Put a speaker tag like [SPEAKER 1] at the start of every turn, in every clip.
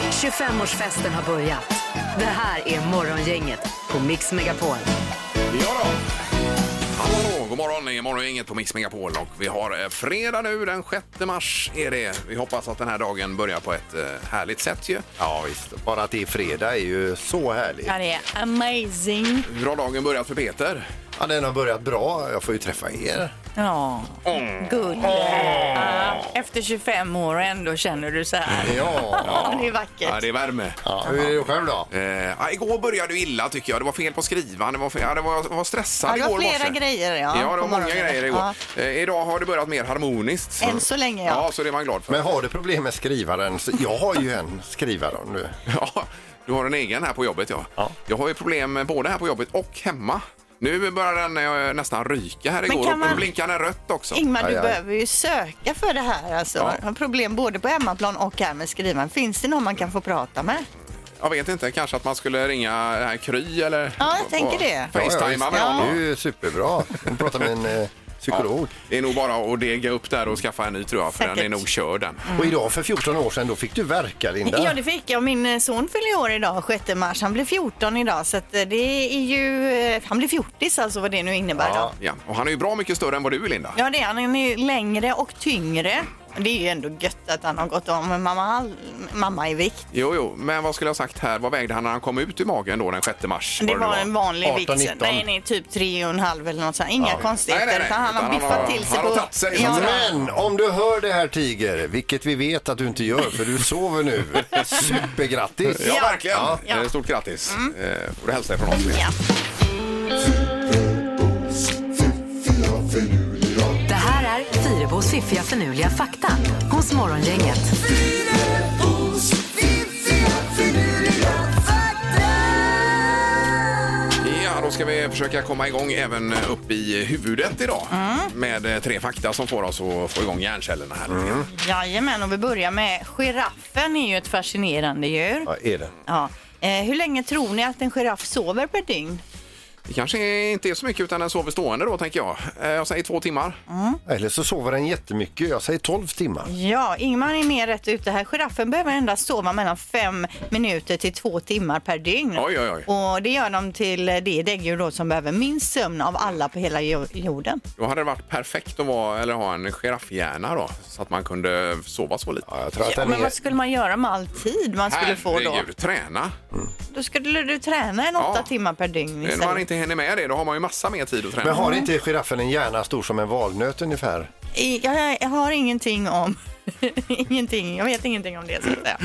[SPEAKER 1] 25-årsfesten har börjat. Det här är Morgongänget på Mix Megapol.
[SPEAKER 2] Ja då. Hallå, god morgon, det är Morgongänget på Mix Megapol och vi har eh, fredag nu den 6 mars är det. Vi hoppas att den här dagen börjar på ett eh, härligt sätt ju.
[SPEAKER 3] Ja visst, bara att det är fredag är ju så härligt.
[SPEAKER 4] Ja, det är amazing.
[SPEAKER 2] Hur har dagen börjat för Peter?
[SPEAKER 3] Ja, den har börjat bra, jag får ju träffa er.
[SPEAKER 4] Ja, gull. Ja, efter 25 år ändå känner du så här.
[SPEAKER 3] Ja,
[SPEAKER 4] Ja, det är
[SPEAKER 2] Ja,
[SPEAKER 4] vackert.
[SPEAKER 2] det är värme.
[SPEAKER 3] ja hur är det själv då?
[SPEAKER 2] Eh, ja, igår började du illa tycker jag. Det var fel på skrivan. Det var, fel, ja, det var, var stressad
[SPEAKER 5] Ja, det var
[SPEAKER 2] igår
[SPEAKER 5] flera
[SPEAKER 2] morse.
[SPEAKER 5] grejer, ja,
[SPEAKER 2] ja, det var
[SPEAKER 5] på
[SPEAKER 2] många
[SPEAKER 5] morgonen.
[SPEAKER 2] grejer igår.
[SPEAKER 5] Ja.
[SPEAKER 2] Eh, idag har det börjat mer harmoniskt.
[SPEAKER 5] Än så länge, ja.
[SPEAKER 2] Ja, så det är man glad för.
[SPEAKER 3] Men har du problem med skrivaren? så- Jag har ju en skrivare nu.
[SPEAKER 2] Ja, du har en egen här på jobbet ja.
[SPEAKER 3] Ja.
[SPEAKER 2] Jag har ju problem med både här på jobbet och hemma. Nu börjar den eh, nästan ryka här igår
[SPEAKER 5] kan
[SPEAKER 2] och
[SPEAKER 5] man-
[SPEAKER 2] blinkar den rött också.
[SPEAKER 5] Ingmar, du
[SPEAKER 3] Aj, aj.
[SPEAKER 5] behöver ju söka för det här. Alltså.
[SPEAKER 2] Ja.
[SPEAKER 5] Har problem både på hemmaplan och här med skrivaren. Finns det någon man kan få prata med?
[SPEAKER 2] Jag vet inte, kanske att man skulle ringa det här Kry eller?
[SPEAKER 5] Ja, jag tänker
[SPEAKER 2] och-
[SPEAKER 5] det.
[SPEAKER 2] Facetimea med
[SPEAKER 3] ja,
[SPEAKER 2] honom.
[SPEAKER 3] visst. Det är ju superbra. Jag pratar med en eh, psykolog.
[SPEAKER 2] Det är nog bara att dega upp där och skaffa en ny tror jag, för
[SPEAKER 5] Säkert.
[SPEAKER 2] den är nog körd den.
[SPEAKER 3] Och idag för 14 år sedan då fick du verka Linda.
[SPEAKER 5] Ja, det fick jag. Min eh, son fyller år idag, 6 mars. Han blir 14 idag, så att eh, det är ju... eh, Han blir 40 alltså, vad det nu innebär.
[SPEAKER 3] Ja.
[SPEAKER 5] Då.
[SPEAKER 2] Ja, och han är ju bra mycket större än vad du är Linda.
[SPEAKER 5] Ja, det är han. Han är längre och tyngre. Det är ju ändå gött att han har gått om med mamma, mamma i vikt.
[SPEAKER 2] Jo, jo, men vad skulle jag ha sagt här? Vad vägde han när han kom ut ur magen då den 6 mars?
[SPEAKER 5] Det
[SPEAKER 2] Vad nu
[SPEAKER 5] var en vanlig
[SPEAKER 3] 18,
[SPEAKER 5] vikt.
[SPEAKER 3] 19.
[SPEAKER 5] Nej, nej, typ 3,5 eller något sånt. Inga konstigheter.
[SPEAKER 2] Nej, nej, nej.
[SPEAKER 5] utan han har
[SPEAKER 2] Utan han
[SPEAKER 5] biffat
[SPEAKER 2] har-
[SPEAKER 5] till sig
[SPEAKER 2] han har tagit sig.
[SPEAKER 5] Ja, då.
[SPEAKER 3] Men om du hör det här Tiger, vilket vi vet att du inte gör för du sover nu. Supergrattis!
[SPEAKER 2] Ja, verkligen.
[SPEAKER 3] Ja.
[SPEAKER 5] Ja. Mm.
[SPEAKER 2] Eh, Stort grattis. Eh, Och du hälsar från oss.
[SPEAKER 5] Ja.
[SPEAKER 1] Det här är Fyrebos fiffiga förnuliga fakta hos Morgongänget.
[SPEAKER 2] Ja, då ska vi försöka komma igång även eh, upp i huvudet idag med eh, tre fakta som får oss att få igång hjärnkällorna här.
[SPEAKER 5] Jajamän, och vi börjar med giraffen är ju ett fascinerande djur.
[SPEAKER 3] Ja, är det.
[SPEAKER 5] Ja. Eh, hur länge tror ni att en giraff sover per dygn?
[SPEAKER 2] Det kanske inte är så mycket utan den sover stående då tänker jag. Eh, Jag säger två timmar.
[SPEAKER 3] Eller så sover den jättemycket. Jag säger 12 timmar.
[SPEAKER 5] Ja, Ingmar är mer rätt ute här. Giraffen behöver endast sova mellan fem minuter till två timmar per dygn.
[SPEAKER 2] Oj, oj, oj.
[SPEAKER 5] Och det gör de till eh, det däggdjur då som behöver minst sömn av alla på hela jo- jorden.
[SPEAKER 2] Då hade det varit perfekt att vara, eller ha en giraffhjärna då så att man kunde sova så lite.
[SPEAKER 3] Ja, jag tror att den
[SPEAKER 5] Men
[SPEAKER 3] är...
[SPEAKER 5] vad skulle man göra med all tid man skulle få då?
[SPEAKER 2] Herregud, träna.
[SPEAKER 5] Då skulle du träna en åtta
[SPEAKER 2] Ja.
[SPEAKER 5] timmar per dygn
[SPEAKER 2] Men När man
[SPEAKER 5] istället.
[SPEAKER 2] inte hinner med det, då Eh, har man ju massa mer tid att träna.
[SPEAKER 3] Men har inte giraffen en hjärna stor som en valnöt ungefär?
[SPEAKER 5] I- Jag, jag har ingenting om... ingenting, jag vet ingenting om det så att säga.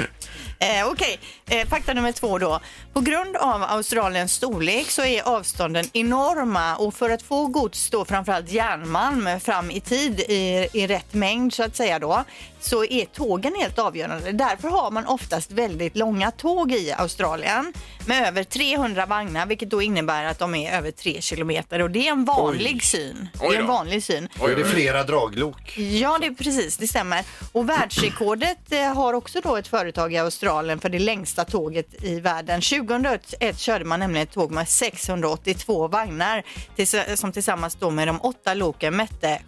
[SPEAKER 5] Eh, Okej, eh, fakta nummer två då. På grund av Australiens storlek så är avstånden enorma och för att få gods då framförallt järnmalm fram i tid i, i rätt mängd så att säga då så är tågen helt avgörande. Därför har man oftast väldigt långa tåg i Australien med över 300 vagnar vilket då innebär att de är över 3 kilometer och det är en vanlig syn.
[SPEAKER 2] Oj
[SPEAKER 5] Det är en
[SPEAKER 2] då.
[SPEAKER 5] vanlig syn.
[SPEAKER 3] Då är det flera draglok.
[SPEAKER 5] Ja, det är precis, det stämmer. Och världsrekordet eh, har också då ett företag i Australien för det längsta tåget i världen. 2001 körde man nämligen ett tåg med 682 vagnar tills- som tillsammans då med de åtta loken mätte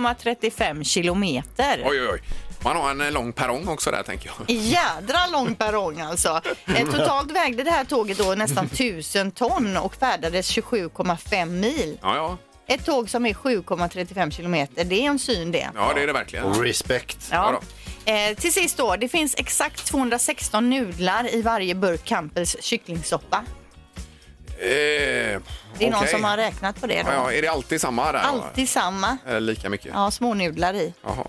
[SPEAKER 5] 7,35 kilometer.
[SPEAKER 2] Oj, oj, oj. Man har en eh, lång perrong också där tänker jag.
[SPEAKER 5] Jädra lång perrong alltså. Eh, Totalt vägde det här tåget då nästan 1000 ton och färdades 27,5 mil.
[SPEAKER 2] Ja, ja.
[SPEAKER 5] Ett tåg som är 7,35 kilometer, det är en syn det.
[SPEAKER 2] Ja, det är det verkligen.
[SPEAKER 3] Och respekt.
[SPEAKER 5] Ja. Eh, till sist då, det finns exakt 216 nudlar i varje burk Campbells kycklingsoppa.
[SPEAKER 2] Eh, det är
[SPEAKER 5] Det är någon som har räknat på det då.
[SPEAKER 2] Ja, ja, är det alltid samma där?
[SPEAKER 5] Alltid samma.
[SPEAKER 2] Eh, Lika mycket?
[SPEAKER 5] Ja, smånudlar i.
[SPEAKER 2] Jaha.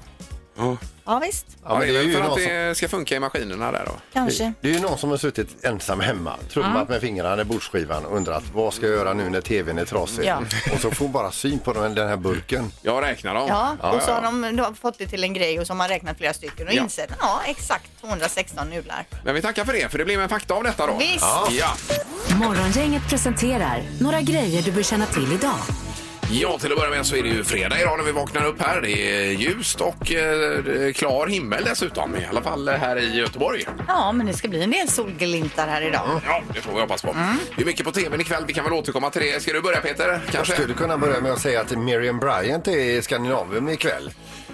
[SPEAKER 2] Ja.
[SPEAKER 5] Ja visst,
[SPEAKER 3] Ja, men det, är
[SPEAKER 2] väl
[SPEAKER 3] ju
[SPEAKER 2] för att
[SPEAKER 3] någon som,
[SPEAKER 2] det ska funka i maskinerna där då.
[SPEAKER 5] kanske.
[SPEAKER 3] det är ju någon som har suttit ensam hemma, trummat med fingrarna i bordsskivan och undrat vad ska jag göra nu när tvn är trasig?
[SPEAKER 5] Ja.
[SPEAKER 3] Och så får bara syn på den den här burken.
[SPEAKER 2] Jag räknar dem.
[SPEAKER 5] Ja,
[SPEAKER 2] Ja,
[SPEAKER 5] och så
[SPEAKER 2] ja.
[SPEAKER 5] har de då fått det till en grej och så har man räknat flera stycken och
[SPEAKER 2] Ja.
[SPEAKER 5] insett ja, exakt 216 nudlar.
[SPEAKER 2] Men vi tackar för det, för det blev en fakta av detta då.
[SPEAKER 5] Visst.
[SPEAKER 2] Ja. Ja.
[SPEAKER 1] Morgongänget presenterar några grejer du bör känna till idag.
[SPEAKER 2] ja, till att börja med så är det ju fredag idag när vi vaknar upp här. Det är ljust och eh, det är klar himmel dessutom, i alla fall här i Göteborg.
[SPEAKER 5] Ja, men det ska bli en del solglimtar här idag.
[SPEAKER 2] Ja, det får vi hoppas på.
[SPEAKER 5] Mm.
[SPEAKER 2] Det är mycket på tvn ikväll, vi kan väl återkomma till det. Ska du börja Peter?
[SPEAKER 3] Jag
[SPEAKER 2] Kanske?
[SPEAKER 3] skulle kunna börja med att säga att Miriam Bryant är i Skandinavien ikväll.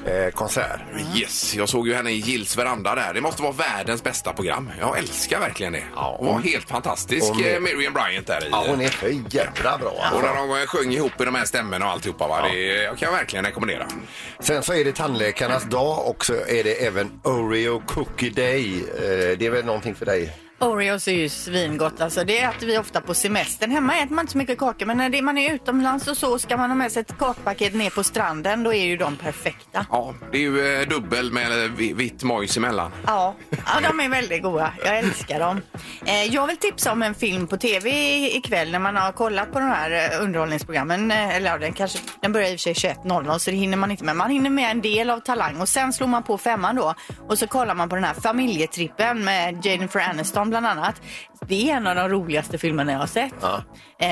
[SPEAKER 3] eh, konsert.
[SPEAKER 2] Yes, jag såg ju henne i Gills veranda där. Det måste vara världens bästa program. Jag älskar verkligen det.
[SPEAKER 3] Ja.
[SPEAKER 2] Hon var helt fantastisk,
[SPEAKER 3] Hon är-
[SPEAKER 2] eh, Miriam Bryant där i.
[SPEAKER 3] Ja, hon är för jävla bra.
[SPEAKER 2] Och
[SPEAKER 3] Alltså.
[SPEAKER 2] när de eh, sjöng ihop i de här stämmorna och alltihopa. Va? Det jag kan jag verkligen rekommendera.
[SPEAKER 3] Sen så är det tandläkarnas dag och så är det även Oreo Cookie Day. Eh, det är väl någonting för dig?
[SPEAKER 5] Oreos är ju svingott. Alltså, det äter vi ofta på semestern. Hemma äter man inte så mycket kakor, men när det, man är utomlands och så ska man ha med sig ett kakpaket ner på stranden, då är ju de perfekta.
[SPEAKER 2] Ja, det är ju eh, dubbel med eh, vi- vitt mojs emellan.
[SPEAKER 5] Ja, ja, de är väldigt goda. Jag älskar dem. Eh, jag vill tipsa om en film på tv i- ikväll när man har kollat på de här eh, underhållningsprogrammen. Eh, Eller ja, den, kanske, den börjar i och för sig 21.00 så det hinner man inte med. Man hinner med en del av Talang och sen slår man på femman då och så kollar man på den här familjetrippen med Jennifer Aniston bland annat. Det är en av de roligaste filmerna jag har sett. Eh,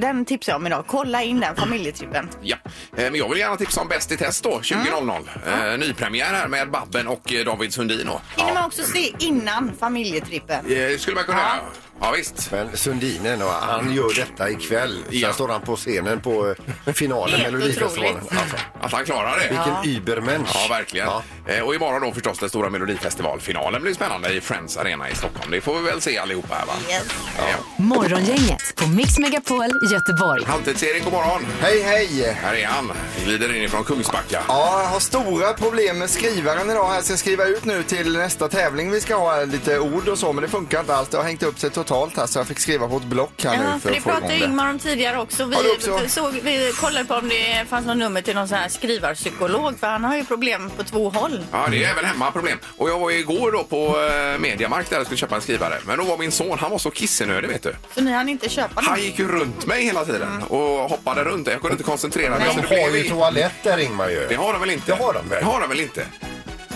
[SPEAKER 5] den tipsar jag om idag. Kolla in den familjetrippen.
[SPEAKER 2] Ja. Eh, Men jag vill gärna tipsa om Bäst i test då, 20.00. Eh, Nypremiär här med Babben och eh, David Sundin. då.
[SPEAKER 5] Hinner man också se innan familjetrippen.
[SPEAKER 2] Eh, skulle man kunna
[SPEAKER 5] Ja.
[SPEAKER 2] göra. Ja, visst.
[SPEAKER 3] Men Sundinen, och han gör detta ikväll. Sen
[SPEAKER 2] Ja.
[SPEAKER 3] står han på scenen på eh, finalen,
[SPEAKER 5] Helt
[SPEAKER 3] Melodifestivalen.
[SPEAKER 5] otroligt.
[SPEAKER 3] Alltså,
[SPEAKER 2] Att han klarar det.
[SPEAKER 3] vilken übermensch.
[SPEAKER 2] Ja, verkligen. Eh, Och imorgon då förstås den stora Melodifestivalfinalen blir spännande i Friends Arena i Stockholm. Det får vi väl se allihopa här va?
[SPEAKER 5] Yes.
[SPEAKER 2] Ja.
[SPEAKER 1] Morgongänget på Mix Megapol Göteborg.
[SPEAKER 2] Halvtids-Erik, god morgon!
[SPEAKER 6] Hej, hej!
[SPEAKER 2] Här är han. Glider in ifrån Kungsbacka.
[SPEAKER 6] Ja, jag har stora problem med skrivaren idag. här. Jag ska skriva ut nu till nästa tävling vi ska ha lite ord och så, men det funkar inte alls. Det har hängt upp sig totalt här så jag fick skriva på ett block här
[SPEAKER 4] Ja, för
[SPEAKER 6] nu för
[SPEAKER 4] det
[SPEAKER 6] att få
[SPEAKER 4] pratade ju
[SPEAKER 6] igång det.
[SPEAKER 4] Ingmar om tidigare också. Vi,
[SPEAKER 6] Ja, det också.
[SPEAKER 4] Såg, vi kollade på om det fanns något nummer till någon sån här skrivarpsykolog för han har ju problem på två håll.
[SPEAKER 2] Ja, det är
[SPEAKER 3] Mm.
[SPEAKER 2] även hemma problem. Och jag var ju igår då på eh, Mediamarkt där jag skulle köpa en skrivare. Men då var min son, han var så kissenödig vet du.
[SPEAKER 5] Så ni hann inte köpa något?
[SPEAKER 2] Han gick ju runt mig hela tiden och hoppade runt. Jag kunde inte koncentrera mig.
[SPEAKER 3] Mm. Men
[SPEAKER 2] så det
[SPEAKER 3] de har
[SPEAKER 2] blev
[SPEAKER 3] ju
[SPEAKER 2] ju...
[SPEAKER 3] toalett där, Ingmar. Ju.
[SPEAKER 2] Det har de väl inte?
[SPEAKER 3] Det har de väl?
[SPEAKER 2] Det har de väl inte?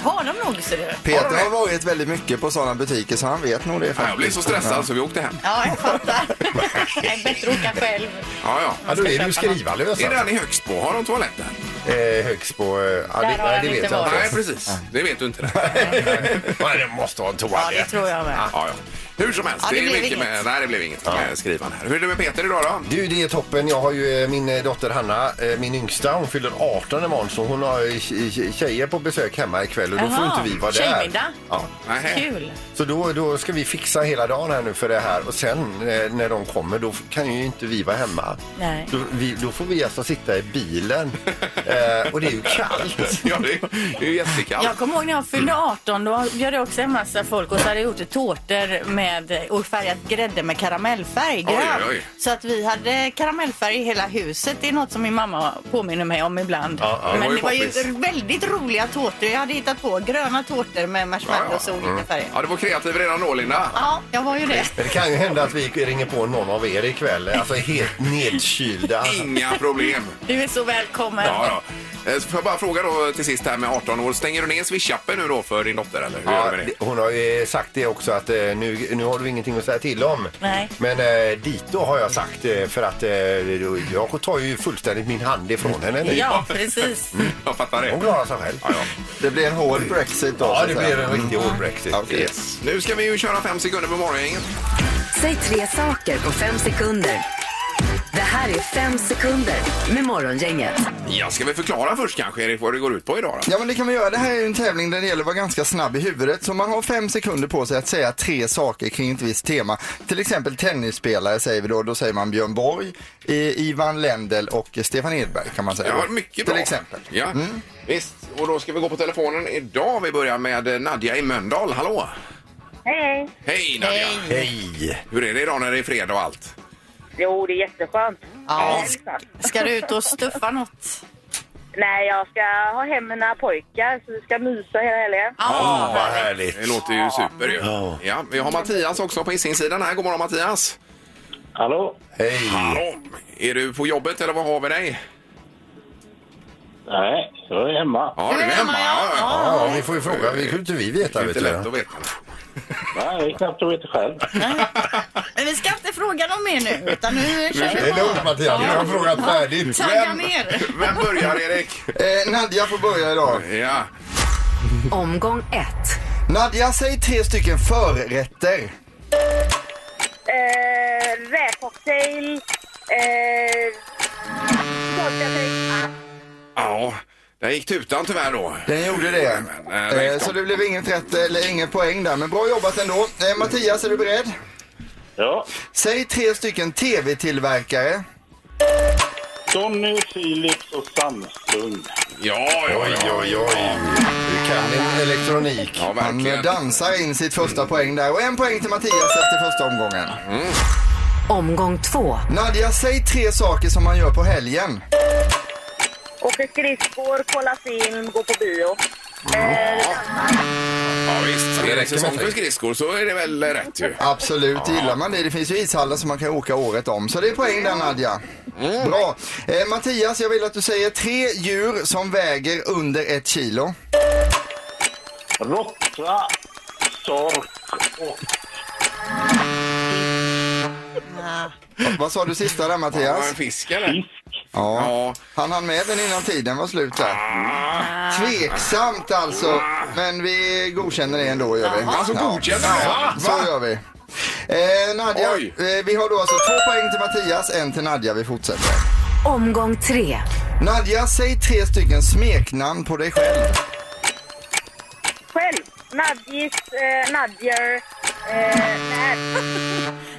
[SPEAKER 5] Har de nog ser du?
[SPEAKER 6] Peter har varit väldigt mycket på sådana butiker så han vet nog det
[SPEAKER 2] Ja, jag blev
[SPEAKER 6] faktiskt.
[SPEAKER 2] så stressad så vi åkte hem.
[SPEAKER 5] Ja, jag fattar. Det är bättre att åka själv.
[SPEAKER 2] Ja, ja.
[SPEAKER 3] Ja, då är du skrivarlös.
[SPEAKER 2] Är det
[SPEAKER 3] alltså.
[SPEAKER 2] han är högst på? Har de toaletten?
[SPEAKER 3] Eh, högst på... Eh, ja, det,
[SPEAKER 5] har
[SPEAKER 3] nej,
[SPEAKER 5] han
[SPEAKER 3] det
[SPEAKER 5] inte
[SPEAKER 3] vet jag
[SPEAKER 5] varit.
[SPEAKER 2] Nej,
[SPEAKER 3] inte.
[SPEAKER 2] precis. Det vet du inte.
[SPEAKER 3] Nej, det måste ha en
[SPEAKER 5] Ja, det
[SPEAKER 3] toalett.
[SPEAKER 5] tror jag med.
[SPEAKER 2] Ja, ja. Hur som helst,
[SPEAKER 5] Ja, det
[SPEAKER 2] det, är
[SPEAKER 5] blev
[SPEAKER 2] mycket
[SPEAKER 5] inget.
[SPEAKER 2] med... Nej, det blev inget med skrivan här. Hur är det med Peter idag då?
[SPEAKER 3] Du, det är toppen. Jag har ju eh, min eh, dotter Hanna, eh, min yngsta, hon fyller 18 imorgon så hon har eh, tje- tjejer på besök hemma ikväll och då får
[SPEAKER 4] Jaha,
[SPEAKER 3] inte vi vara där.
[SPEAKER 4] tjejmiddag.
[SPEAKER 3] Ja.
[SPEAKER 2] Nej.
[SPEAKER 4] Kul!
[SPEAKER 3] Så då, då ska vi fixa hela dagen här nu för det här och sen eh, när de kommer då kan ju inte vi vara hemma.
[SPEAKER 4] Nej.
[SPEAKER 3] Då, vi, då får vi alltså sitta i bilen eh, och det är ju kallt.
[SPEAKER 2] Ja, det är- det är ju jättekallt.
[SPEAKER 4] Jag kommer ihåg när jag fyllde
[SPEAKER 2] Mm.
[SPEAKER 4] 18, då bjöd jag också en massa folk och så hade jag gjort tårtor med,
[SPEAKER 5] Och färgat grädde med karamellfärg.
[SPEAKER 2] Oj,
[SPEAKER 5] grön.
[SPEAKER 2] oj, oj.
[SPEAKER 5] Så att vi hade karamellfärg i hela huset. Det är något som min mamma påminner mig om ibland.
[SPEAKER 3] Ja, ja, det
[SPEAKER 5] Men
[SPEAKER 2] var ju
[SPEAKER 5] det var ju
[SPEAKER 2] poppis.
[SPEAKER 5] väldigt roliga tårtor. Jag hade hittat på gröna tårtor med marshmallows och olika färger.
[SPEAKER 2] Ja, Mm. du var kreativ redan då, Linda.
[SPEAKER 5] Ja, jag var ju det.
[SPEAKER 3] Men det kan ju hända att vi ringer på någon av er ikväll, alltså helt nedkylda.
[SPEAKER 2] Inga problem.
[SPEAKER 4] du är så välkommen.
[SPEAKER 2] Ja, ja. Eh, så Får jag bara fråga då till sist här med 18 år. Stänger du ner swishappen nu då för din dotter eller hur
[SPEAKER 3] Ja,
[SPEAKER 2] gör du med det?
[SPEAKER 3] det- hon har ju sagt det också att eh, nu, nu har du ingenting att säga till om.
[SPEAKER 4] Nej.
[SPEAKER 3] Men eh, dito har jag sagt eh, för att eh, jag tar ju fullständigt min hand ifrån henne nu.
[SPEAKER 4] Ja, precis.
[SPEAKER 2] Jag fattar
[SPEAKER 3] Hon
[SPEAKER 2] det.
[SPEAKER 3] klarar sig själv.
[SPEAKER 2] Ja, ja.
[SPEAKER 6] Det blir en hård Brexit då. så
[SPEAKER 3] Ja,
[SPEAKER 6] att
[SPEAKER 3] det
[SPEAKER 6] säga.
[SPEAKER 3] blir en riktig hård brexit.
[SPEAKER 6] Okej.
[SPEAKER 2] Yes. Nu ska vi ju köra fem sekunder på morgonen.
[SPEAKER 1] Säg tre saker på fem sekunder. Det här är fem sekunder med Morgongänget.
[SPEAKER 2] Ja, ska vi förklara först kanske Erik vad det går ut på idag då?
[SPEAKER 6] Ja men det kan man göra. Det här är ju en tävling där det gäller att vara ganska snabb i huvudet. Så man har fem sekunder på sig att säga tre saker kring ett visst tema. Till exempel tennisspelare säger vi då. Då säger man Björn Borg, eh, Ivan Lendl och Stefan Edberg kan man säga.
[SPEAKER 2] Ja, mycket bra.
[SPEAKER 6] Till exempel.
[SPEAKER 2] Ja, visst. Och då ska vi gå på telefonen idag. Vi börjar med eh, Nadja i Mölndal. Hallå!
[SPEAKER 7] Hej, hej.
[SPEAKER 2] Hej Nadja!
[SPEAKER 3] Hej!
[SPEAKER 2] Hur är det idag när det är fredag och allt?
[SPEAKER 7] Jo, det är jätteskönt.
[SPEAKER 5] Ja.
[SPEAKER 7] Det är sant.
[SPEAKER 5] Ska du ut och stuffa något?
[SPEAKER 7] Nej, jag ska ha hem mina pojkar så vi ska mysa hela helgen.
[SPEAKER 3] Åh, vad härligt!
[SPEAKER 2] Det låter ju super ju.
[SPEAKER 3] Ja.
[SPEAKER 2] Ja, vi har Mattias också på Hisingssidan här. God morgon Mattias!
[SPEAKER 8] Hallå?
[SPEAKER 3] Hej!
[SPEAKER 2] Hallå! Är du på jobbet eller vad har vi dig?
[SPEAKER 8] Nej, jag är hemma.
[SPEAKER 2] Ja, du är hemma. Ja, ja.
[SPEAKER 3] Ja, vi får ju fråga. Vi kunde inte vi
[SPEAKER 2] Det
[SPEAKER 3] veta.
[SPEAKER 2] är
[SPEAKER 3] Vet
[SPEAKER 2] inte lätt att
[SPEAKER 3] du.
[SPEAKER 2] veta.
[SPEAKER 8] Nej, det är knappt jag vet det själv.
[SPEAKER 5] Men vi ska inte fråga någon mer nu, utan nu kör
[SPEAKER 3] Det
[SPEAKER 5] vi
[SPEAKER 3] är lugnt
[SPEAKER 5] på.
[SPEAKER 3] Mattias, vi har frågat färdigt.
[SPEAKER 5] Tagga ner.
[SPEAKER 2] Vem börjar Erik?
[SPEAKER 6] Eh, Nadja får börja idag.
[SPEAKER 2] Ja.
[SPEAKER 1] Omgång ett.
[SPEAKER 6] Nadja, säg tre stycken förrätter.
[SPEAKER 7] Eh, Räkcocktail. Eh, vodkafejk.
[SPEAKER 2] Ja. Den gick tutan tyvärr då.
[SPEAKER 6] Den gjorde det.
[SPEAKER 2] Men, eh,
[SPEAKER 6] Eh, Så det blev inget rätt eller ingen poäng där, men bra jobbat ändå. Eh, Mattias, är du beredd?
[SPEAKER 8] Ja.
[SPEAKER 6] Säg tre stycken tv-tillverkare.
[SPEAKER 8] Sonny, Philips och Samsung.
[SPEAKER 2] Ja, ja,
[SPEAKER 3] Oj,
[SPEAKER 2] ja.
[SPEAKER 3] oj, oj. Du kan din elektronik.
[SPEAKER 2] ja
[SPEAKER 6] Han eh,
[SPEAKER 2] verkligen.
[SPEAKER 6] dansar in sitt första poäng där och en poäng till Mattias efter första omgången.
[SPEAKER 1] Omgång två.
[SPEAKER 6] Nadja, säg tre saker som man gör på helgen.
[SPEAKER 7] Åker skridskor, kollar film, går på bio.
[SPEAKER 2] Ja, visst. Är det
[SPEAKER 3] räcker
[SPEAKER 2] säsong
[SPEAKER 3] med
[SPEAKER 2] för
[SPEAKER 3] dig.
[SPEAKER 2] skridskor så är det väl rätt ju.
[SPEAKER 6] Absolut, gillar man det. Det finns ju ishallar som man kan åka året om. Så det är poäng där Nadja.
[SPEAKER 2] Mm.
[SPEAKER 6] Bra. Eh, Mattias, jag vill att du säger tre djur som väger under ett kilo.
[SPEAKER 8] Råtta, sork och...
[SPEAKER 6] Vad sa du sista där
[SPEAKER 2] Var det
[SPEAKER 6] Mattias?
[SPEAKER 2] en fisk eller?
[SPEAKER 6] Ja.
[SPEAKER 2] Ja.
[SPEAKER 6] Han hann med den innan tiden var slut där.
[SPEAKER 2] Ah,
[SPEAKER 6] Tveksamt alltså, men vi godkänner det ändå gör vi.
[SPEAKER 2] Alltså
[SPEAKER 6] Ja.
[SPEAKER 2] godkänner det?
[SPEAKER 6] Så gör vi. Eh, Nadja,
[SPEAKER 2] Oj.
[SPEAKER 6] eh, vi har då alltså två poäng till Mattias, en till Nadja. Vi fortsätter.
[SPEAKER 1] Omgång tre.
[SPEAKER 6] Nadja, säg tre stycken smeknamn på dig själv.
[SPEAKER 7] Själv. Nadjis, eh, Nadjer, eh, Nad.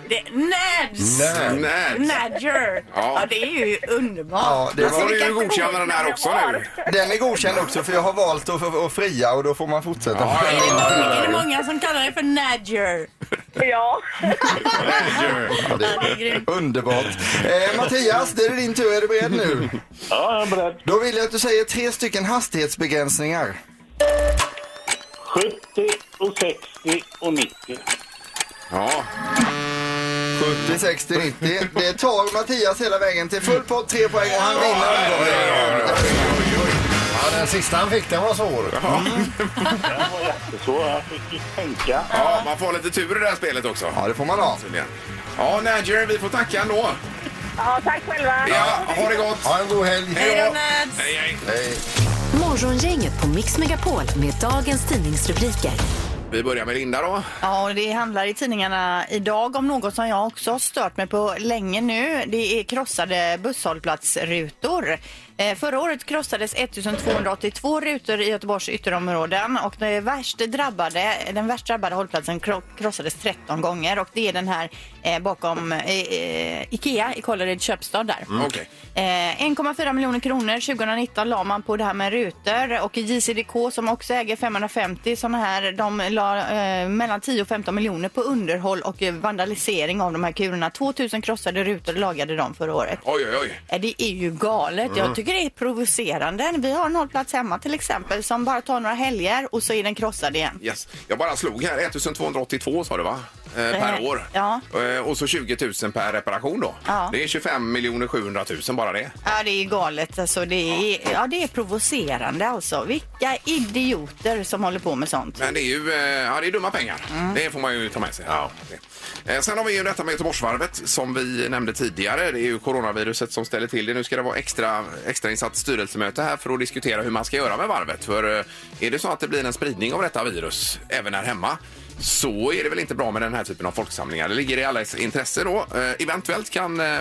[SPEAKER 4] Det, Nads!
[SPEAKER 3] Nej.
[SPEAKER 2] Nej.
[SPEAKER 4] Nadger!
[SPEAKER 2] Ja.
[SPEAKER 4] Ja. det är ju underbart.
[SPEAKER 6] Ja, det
[SPEAKER 2] Då får
[SPEAKER 6] var,
[SPEAKER 2] du ju
[SPEAKER 4] vilka
[SPEAKER 2] godkänna den här också nu.
[SPEAKER 6] den är godkänd också för jag har valt att, att fria och då får man fortsätta.
[SPEAKER 2] Ja, ja, ja,
[SPEAKER 4] Är det
[SPEAKER 2] ja.
[SPEAKER 4] många som kallar det för Nadger?
[SPEAKER 7] Ja.
[SPEAKER 4] Ja, det är grymt.
[SPEAKER 6] Underbart. Eh, Mattias, det är din tur. Är du beredd nu?
[SPEAKER 8] Ja, jag är beredd.
[SPEAKER 6] Då vill jag att du säger tre stycken hastighetsbegränsningar.
[SPEAKER 8] 70 och 60 och 90.
[SPEAKER 2] Ja.
[SPEAKER 6] 70, 60, 90. Det tar Mattias hela vägen till full pott, tre poäng och han vinner omgången.
[SPEAKER 3] Ja, den sista han fick, den var svår.
[SPEAKER 8] Det var jättesvårt. Jag fick ju tänka.
[SPEAKER 2] ja, man får lite tur i det här spelet också.
[SPEAKER 6] Ja, det får man ha.
[SPEAKER 2] tydligen. Ja, Nadger, vi får tacka ändå.
[SPEAKER 7] ja, tack själva.
[SPEAKER 2] Ja, ha det gott!
[SPEAKER 3] Ha en god helg.
[SPEAKER 4] Hej då Nads!
[SPEAKER 2] Hej, hej.
[SPEAKER 1] Morgongänget på Mix Megapol med dagens tidningsrubriker.
[SPEAKER 2] Vi börjar med Linda då.
[SPEAKER 5] Ja, och det handlar i tidningarna idag om något som jag också har stört mig på länge nu. Det är krossade busshållplatsrutor. Eh, Förra året krossades 1282 rutor i Göteborgs ytterområden och det värst drabbade, den värst drabbade hållplatsen kro- krossades 13 gånger och det är den här eh, bakom eh, eh, Ikea i Kållered köpstad där.
[SPEAKER 2] Okej.
[SPEAKER 5] Eh, 1,4 miljoner kronor 2019 la man på det här med rutor och JCDK som också äger 550 sådana här, de la eh, mellan 10 och 15 miljoner på underhåll och eh, vandalisering av de här kulorna. 2000 krossade rutor lagade de förra året.
[SPEAKER 2] Oj, oj, oj.
[SPEAKER 5] Eh, Det är ju galet. Jag tycker det är provocerande. Vi har en hållplats hemma till exempel som bara tar några helger och så är den krossad igen.
[SPEAKER 2] Yes. Jag bara slog här. 1282 sa du va? Eh, per
[SPEAKER 5] Eh,
[SPEAKER 2] år.
[SPEAKER 5] ja.
[SPEAKER 2] Eh, och så 20 000 per reparation då.
[SPEAKER 5] Ja.
[SPEAKER 2] Det är 25 700 000 bara det.
[SPEAKER 5] Ja, det är galet. Alltså, det, är, ja, det är provocerande alltså. Vilka idioter som håller på med sånt.
[SPEAKER 2] Men det är ju eh, ja, det är dumma pengar. Det får man ju ta med sig. Ja. Eh, Sen har vi ju detta med Göteborgsvarvet som vi nämnde tidigare. Det är ju coronaviruset som ställer till det. Nu ska det vara extra, extra insatt styrelsemöte här för att diskutera hur man ska göra med varvet. För eh, är det så att det blir en spridning av detta virus även här hemma så är det väl inte bra med den här typen av folksamlingar. Det ligger i allas intresse då. Eh, eventuellt kan eh,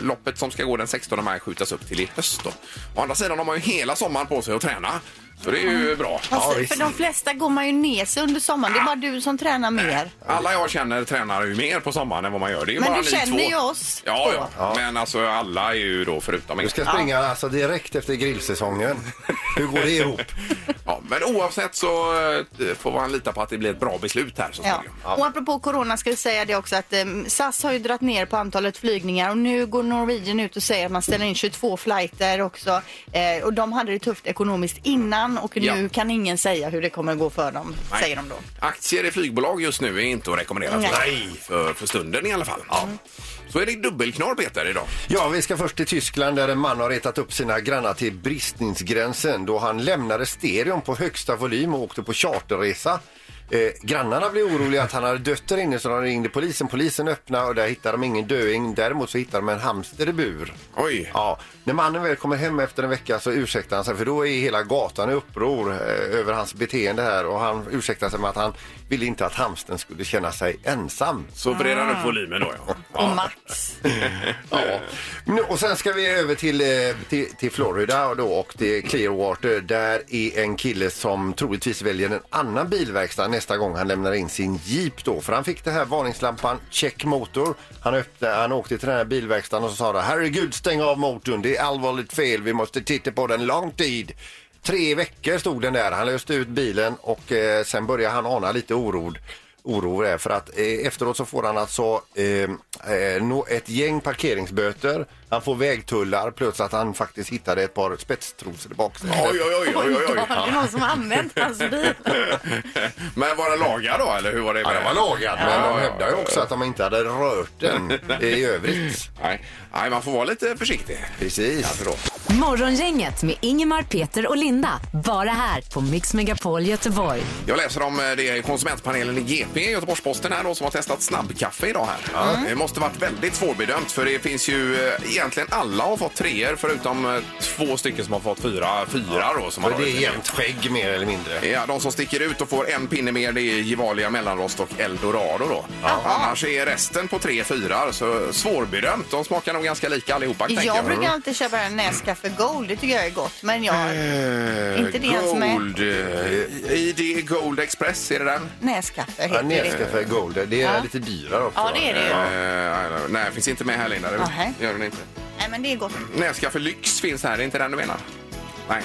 [SPEAKER 2] loppet som ska gå den 16 maj skjutas upp till i höst då. Å andra sidan har man ju hela sommaren på sig att träna. Så det är ju bra.
[SPEAKER 5] Fast för de flesta går man ju ner sig under sommaren. Det är bara du som tränar mer.
[SPEAKER 2] Alla jag känner tränar ju mer på sommaren än vad man gör. Det är ju
[SPEAKER 5] Men
[SPEAKER 2] bara ni
[SPEAKER 5] du känner
[SPEAKER 2] två.
[SPEAKER 5] ju oss
[SPEAKER 2] Ja,
[SPEAKER 5] två.
[SPEAKER 2] ja. men alltså alla är ju då förutom
[SPEAKER 3] Du
[SPEAKER 2] mig.
[SPEAKER 3] ska springa alltså direkt efter grillsäsongen. Hur går det ihop?
[SPEAKER 2] Ja, men oavsett så eh, får man lita på att det blir ett bra beslut här så
[SPEAKER 5] Ja.
[SPEAKER 2] småningom.
[SPEAKER 5] Och apropå corona ska vi säga det också att eh, SAS har ju dragit ner på antalet flygningar och nu går Norwegian ut och säger att man ställer in 22 flighter också. Eh, och de hade det tufft ekonomiskt innan och nu
[SPEAKER 2] Ja.
[SPEAKER 5] kan ingen säga hur det kommer gå för dem,
[SPEAKER 2] Nej.
[SPEAKER 5] säger de då.
[SPEAKER 2] Aktier i flygbolag just nu är inte att rekommendera.
[SPEAKER 5] Nej.
[SPEAKER 2] Nej. För, för stunden i alla fall. Så är det dubbelknorr Peter idag.
[SPEAKER 3] Ja, vi ska först till Tyskland där en man har retat upp sina grannar till bristningsgränsen då han lämnade stereon på högsta volym och åkte på charterresa. Eh, grannarna blev oroliga att han hade dött där inne så de ringde polisen. Polisen öppnade och där hittade de ingen döing. Däremot så hittade de en hamster i bur.
[SPEAKER 2] Oj.
[SPEAKER 3] Ja, när mannen väl kommer hem efter en vecka så ursäktar han sig för då är hela gatan i uppror eh, över hans beteende här och han ursäktar sig med att han ville inte att hamsten skulle känna sig ensam.
[SPEAKER 5] Ah.
[SPEAKER 2] Så vredar han upp volymen då ja.
[SPEAKER 4] Och Max.
[SPEAKER 3] Ja. Nu, och sen ska vi över till, eh, till, till Florida och, då, och till Clearwater. Där är en kille som troligtvis väljer en annan bilverkstad nästa gång han lämnar in sin jeep. Då. För han fick den här varningslampan check motor. Han, öppna, han åkte till den här bilverkstaden och så sa det, herregud stäng av motorn, det är allvarligt fel, vi måste titta på den lång tid. Tre veckor stod den där, han löste ut bilen och eh, sen började han ana lite oro oro är för att eh, efteråt så får han alltså eh, eh, nå- ett gäng parkeringsböter, han får vägtullar plus att han faktiskt hittade ett par spetstrosor i baksidan.
[SPEAKER 2] Oj, oj, oj, oj, oj,
[SPEAKER 4] Det är
[SPEAKER 2] oj.
[SPEAKER 4] någon som har använt hans bil.
[SPEAKER 2] Men var den lagad då eller hur var det?
[SPEAKER 3] Ja,
[SPEAKER 2] med-
[SPEAKER 3] den var lagad, men
[SPEAKER 2] Ja,
[SPEAKER 3] de
[SPEAKER 2] ja,
[SPEAKER 3] hävdar ju
[SPEAKER 2] ja,
[SPEAKER 3] också att de inte hade rört den i övrigt.
[SPEAKER 2] Nej. Nej, man får vara lite försiktig.
[SPEAKER 3] Precis.
[SPEAKER 1] Morgongänget med Ingemar, Peter och Linda. Bara här på Mix Megapol Göteborg.
[SPEAKER 2] Jag läser om eh, det i konsumentpanelen i GP, Göteborgs-Posten här då, som har testat snabbkaffe idag här. Mm. Det måste varit väldigt svårbedömt för det finns ju eh, egentligen alla har fått treor förutom eh, två stycken som har fått fyra, fyra då. Som har
[SPEAKER 3] Och det är
[SPEAKER 2] varit-
[SPEAKER 3] jämnt skägg mer eller mindre.
[SPEAKER 2] Ja, de som sticker ut och får en pinne mer det är Gevalia, Mellanrost och Eldorado då. Annars är resten på tre fyrar så svårbedömt. De smakar nog ganska lika allihopa tänker
[SPEAKER 5] Jag brukar alltid köpa en Nescafe Gold, det tycker jag är gott. Men jag...
[SPEAKER 2] Eh,
[SPEAKER 5] inte det ens med.
[SPEAKER 2] Gold, eh, ID Gold Express, är det den?
[SPEAKER 5] Nescafe
[SPEAKER 3] Ja,
[SPEAKER 5] heter det.
[SPEAKER 3] Nescafe Gold, det är lite dyrare också.
[SPEAKER 5] Ja, det är det ju.
[SPEAKER 2] Eh, nej, finns inte med här Linda. Det
[SPEAKER 5] Nej.
[SPEAKER 2] gör den inte.
[SPEAKER 5] Nej, men det är gott.
[SPEAKER 2] Näskaffe Lyx finns här, är inte den du menar? Nej.